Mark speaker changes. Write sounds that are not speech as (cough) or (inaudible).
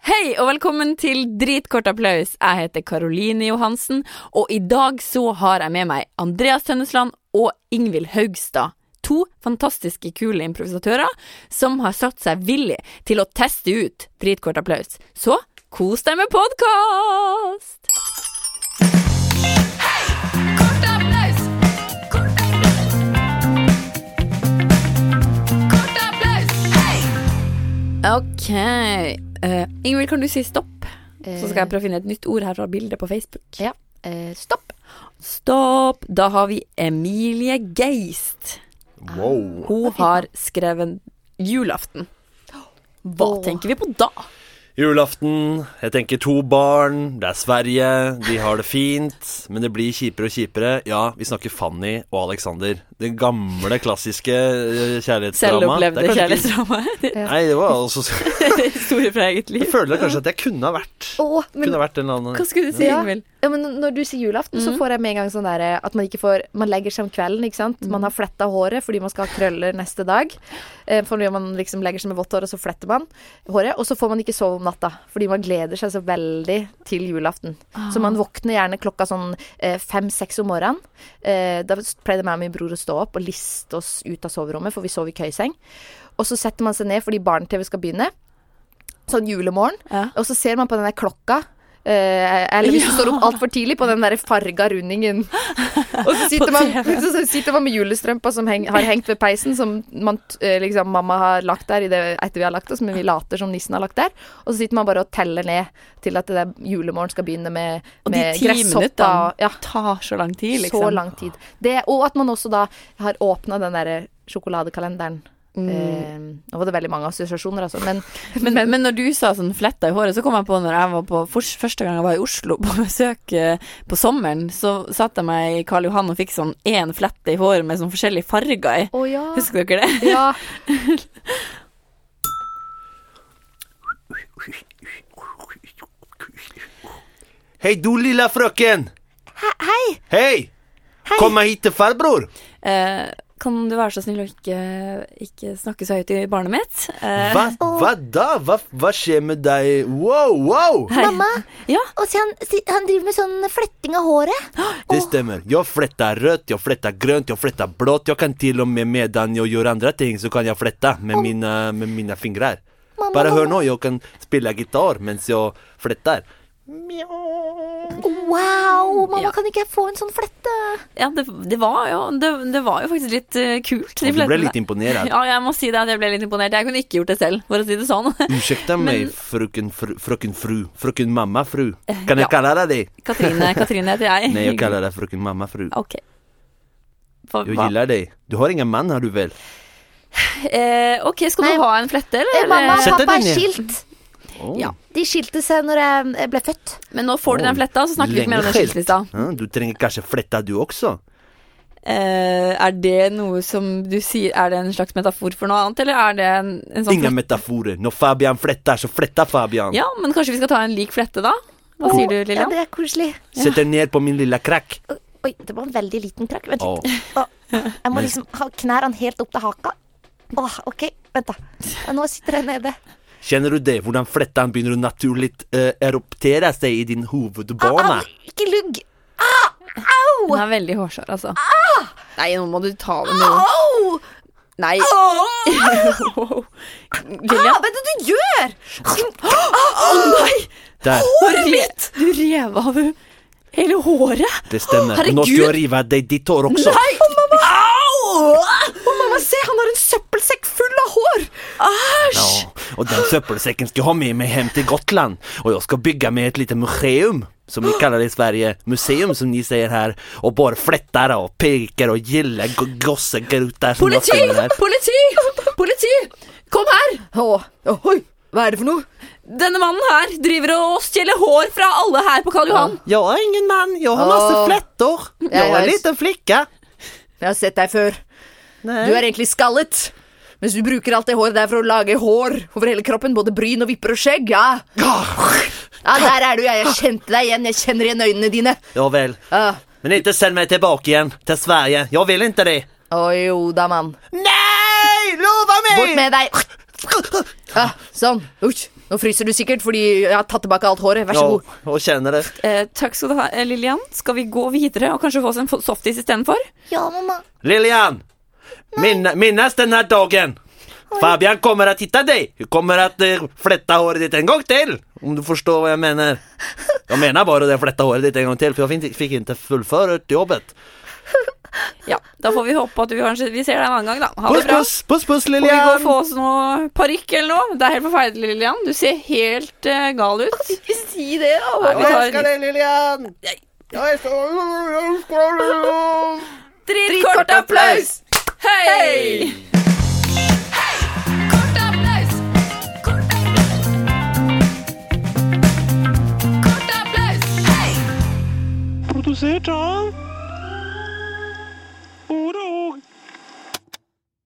Speaker 1: Hei og velkommen til Dritkort applaus. Jeg heter Karoline Johansen, og i dag så har jeg med meg Andreas Tønnesland og Ingvild Haugstad. To fantastiske kule improvisatører som har satt seg villig til å teste ut Dritkort applaus. Så kos deg med podkast! Ok. eh, Ingvild, kan du si stopp? Så skal jeg prøve å finne et nytt ord her fra bildet på Facebook.
Speaker 2: Eh, stopp.
Speaker 1: Stopp! Da har vi Emilie Geist.
Speaker 3: Wow.
Speaker 1: Hun har skrevet julaften. Hva
Speaker 2: Åh.
Speaker 1: tenker vi på da?
Speaker 3: Julaften, jeg tenker to barn, det er Sverige, de har det fint, men det blir kjipere og kjipere. Ja, vi snakker Fanny og Alexander. Det gamle, klassiske eh, kjærlighetsdramaet. Det
Speaker 1: Selvopplevde
Speaker 3: er kanskje ikke-
Speaker 1: (laughs) kjærlighetsdramaet.
Speaker 3: Nei, det var altså
Speaker 1: Historie fra eget
Speaker 3: (laughs) Jeg
Speaker 1: liv.
Speaker 3: føler kanskje at jeg kunne ha vært
Speaker 2: Å, men,
Speaker 3: Kunne ha vært en eller
Speaker 1: Hva
Speaker 3: annen
Speaker 1: skulle du si,
Speaker 2: Ja.
Speaker 1: Ingvild? Mhm.
Speaker 2: ja, men når du sier julaften, så får jeg med en gang sånn der eh, at man ikke får Man legger seg om kvelden, ikke sant.
Speaker 1: Mhm.
Speaker 2: Man har fletta håret fordi man skal ha krøller neste dag. Eh, fordi man liksom legger seg med vått hår, og så fletter man håret. Og så får man ikke sove om natta fordi man gleder seg så veldig til julaften. Så
Speaker 1: Ah.
Speaker 2: man våkner gjerne klokka sånn eh, fem-seks om morgenen. Eh, da pleide meg og min bror å stå opp og liste oss ut av soverommet, for vi sov i køyeseng. Og så setter man seg ned fordi barne-TV skal begynne. Sånn julemorgen.
Speaker 1: Ja.
Speaker 2: Og så ser man på den der klokka. eh, eller hvis du står opp altfor tidlig på den der farga
Speaker 1: (laughs)
Speaker 2: rundingen. Og så sitter, man, (laughs) så så sitter man med julestrømpa som heng, har hengt ved peisen, som man, t- eh, liksom, mamma har lagt der i det, etter vi har lagt oss, men vi later som nissen har lagt der. Og så sitter man bare og teller ned til at det der julemorgen skal begynne med,
Speaker 1: Og de
Speaker 2: med
Speaker 1: ti
Speaker 2: gresshoppa.
Speaker 1: minuttene
Speaker 2: og- Ja,
Speaker 1: tar så lang tid, liksom.
Speaker 2: så lang tid. Det, og at man også da har åpna den derre sjokoladekalenderen.
Speaker 1: Mm.
Speaker 2: Eh, nå var det veldig mange assosiasjoner, altså. Men
Speaker 1: Men, men når du sa sånn fletta i håret, så kom jeg på når jeg var på fors- første gang jeg var i Oslo på besøk eh, på sommeren, så satte jeg meg i Karl Johan og fikk sånn én flette i håret med sånn forskjellige farger i.
Speaker 2: Å ja.
Speaker 1: Husker dere det?
Speaker 2: ja.
Speaker 3: Hei, du lilla frøken! Hei! Kom meg hit til farbror!
Speaker 1: Eh, kan du være så snill å ikke, ikke snakke så høyt i barnet mitt? Eh,
Speaker 3: Hva, hva da? Hva, hva skjer med deg? Wow, wow!
Speaker 4: Mamma,
Speaker 1: Ja.
Speaker 4: og se han, si- han driver med sånn fletting av håret.
Speaker 3: Det stemmer. Jeg fletta rødt, jeg fletta grønt, jeg fletta blått. Jeg kan til og med medan jeg gjør andre ting, så kan jeg flette med mine, med mine fingre.
Speaker 4: Mamma,
Speaker 3: Bare hør
Speaker 4: mamma.
Speaker 3: nå, jeg kan spille gitar mens jeg fletter.
Speaker 4: Wow, mamma,
Speaker 1: Ja.
Speaker 4: kan ikke jeg få en sånn flette?
Speaker 1: Ja, det, det, var jo, det, det var jo faktisk litt eh, kult. de
Speaker 3: Og du ble
Speaker 1: flettene.
Speaker 3: litt imponert.
Speaker 1: (laughs) Ja, jeg må si det at jeg ble litt imponert. Jeg kunne ikke gjort det selv, for å si det sånn. (laughs)
Speaker 3: Unnskyld meg, frøken fru, frøken fru. Frøken mamma fru.
Speaker 1: Eh,
Speaker 3: Kan jeg kalle deg det?
Speaker 1: Katrine, Katrine heter (laughs) jeg.
Speaker 3: Nei, jeg kaller deg frøken mamma fru.
Speaker 1: Ok. Hva-
Speaker 3: Jeg
Speaker 1: hva?
Speaker 3: gillar deg. Du har ingen mann, har du vel?
Speaker 1: Eh, ok, skal
Speaker 4: Nei.
Speaker 1: du ha en flette, eller?
Speaker 4: Eh, mamma og
Speaker 3: Sett deg
Speaker 4: pappa er
Speaker 3: ned.
Speaker 4: skilt.
Speaker 3: Åh.
Speaker 1: Ja.
Speaker 4: De skilte seg når jeg jeg ble født.
Speaker 1: Eh, Men nå får du den fletta, så snakker vi ikke mer om den
Speaker 3: Lenge skilt.
Speaker 1: skiltlista.
Speaker 3: Ja, Du trenger kanskje fletta du også?
Speaker 1: Eh, er det noe som du sier Er det en slags metafor for noe annet, eller er det en, en sånn
Speaker 3: Ingen metaforer. Når Fabian fletter, så fletter Fabian.
Speaker 1: Ja, men kanskje vi skal ta en lik flette, da? Hva sier du,
Speaker 4: Å, Ja,
Speaker 1: Lillian?
Speaker 4: det er koselig.
Speaker 3: Sett deg ned på min lille krakk.
Speaker 1: (laughs)
Speaker 4: Oi, det var en veldig liten krakk. Vent
Speaker 3: Åh.
Speaker 4: litt. Å, Jeg må liksom ha knær han helt opp til haka. Åh, OK, vent, da. Ja, Nå sitter jeg nede.
Speaker 3: Kjenner du det? Hvordan flettan begynner å naturlig eh, eruptere seg i din hovedbane?
Speaker 4: Au, ikke lugg.
Speaker 1: Den er veldig hårsår, altså.
Speaker 4: Ah!
Speaker 1: Nei, nå må du ta det med ro.
Speaker 4: Au!
Speaker 1: Nei.
Speaker 2: (laughs)
Speaker 1: Wow.
Speaker 4: Hva
Speaker 1: Lillian,
Speaker 4: er det du gjør?
Speaker 3: Der,
Speaker 1: håret mitt! Du rev av hele håret.
Speaker 3: det stemmer. Og Nå skal
Speaker 1: Herregud.
Speaker 3: jeg rive av deg ditt hår også.
Speaker 2: Mamma, se, han har en søppelsekk full av hår!
Speaker 3: Ja, og den søppelsekken skal jeg ha med meg hjem til Gotland. Og jeg skal bygge meg et lite museum, som vi kaller det i Sverige. Museum, som de sier her. Og bare fletter og peker og gilder go- gossegutter. som jeg
Speaker 1: Politi!
Speaker 3: finner her.
Speaker 1: Politi! Politi! Kom her!
Speaker 2: Å, ohoi, hva er det for noe?
Speaker 1: Denne mannen her driver og stjeler hår fra alle her på Karl Johan.
Speaker 3: Jeg er ingen mann, jeg har
Speaker 2: Åh.
Speaker 3: masse fletter. Jeg er
Speaker 2: jeg-
Speaker 3: en liten flikke.
Speaker 2: Jeg har sett deg før.
Speaker 3: Nei.
Speaker 2: Du er egentlig skallet. Mens du bruker alt det håret der for å lage hår over hele kroppen, både bryn og vipper og skjegg. Ja, ja der er du, ja. Jeg kjente deg igjen. Jeg kjenner igjen øynene dine.
Speaker 3: Ja vel.
Speaker 2: Ja.
Speaker 3: Men ikke send meg tilbake igjen til Sverige. Jeg vil ikke det.
Speaker 2: Å jo da, mann.
Speaker 3: Nei! Lova meg!
Speaker 2: Bort med deg. Ja, sånn. Usch. Nå fryser du sikkert fordi jeg har tatt tilbake alt håret. Vær så god.
Speaker 3: Ja, og kjenner det.
Speaker 1: Eh, takk skal du ha, eh, Lillian. Skal vi gå videre og kanskje få oss en fo- softis istedenfor?
Speaker 4: Ja, mamma.
Speaker 3: Lilian! Min, minnes den här dagen! Fabian kommer att hitta dig! Jag kommer att eh, flätta håret ditt en gång till! Om du förstår vad jag menar. Jag menar bara det, flätta håret ditt en gång till, för jag fin- fick inte fullföra jobbet.
Speaker 1: Ja, da får vi håpe at vi, kanskje, vi ser deg en annen gang, da. Ha
Speaker 3: Puss,
Speaker 1: det bra.
Speaker 3: puss, puss, puss,
Speaker 1: Må vi gå og
Speaker 3: Lilian!
Speaker 1: få oss noe parykk eller noe? Det er helt forferdelig, Lillian. Du ser helt eh, gal ut.
Speaker 2: Ikke si det,
Speaker 1: Nei, vi
Speaker 3: Jag
Speaker 1: tar
Speaker 3: älskar
Speaker 1: en
Speaker 3: dig, Lilian! Jag älskar dig, jag älskar dig!
Speaker 1: dritkort applaus! Hei!